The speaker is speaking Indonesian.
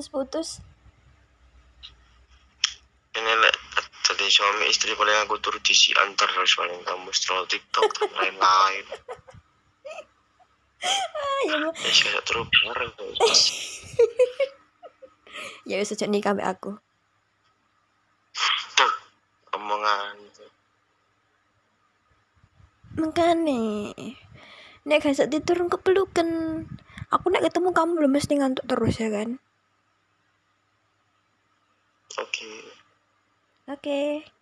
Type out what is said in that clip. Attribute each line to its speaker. Speaker 1: putus-putus.
Speaker 2: ini lek jadi suami istri paling aku turut diisi antar terus paling kamu scroll tiktok dan lain-lain
Speaker 1: Ah, ya Bu.
Speaker 2: ya saya terus bareng
Speaker 1: Ya wis ojo nikah mbek aku.
Speaker 2: Tuh, omongan
Speaker 1: Mengkane. Nek kan gak iso tidur engko pelukan. Aku nek ketemu kamu belum mesti ngantuk terus ya kan.
Speaker 2: oke
Speaker 1: Oke.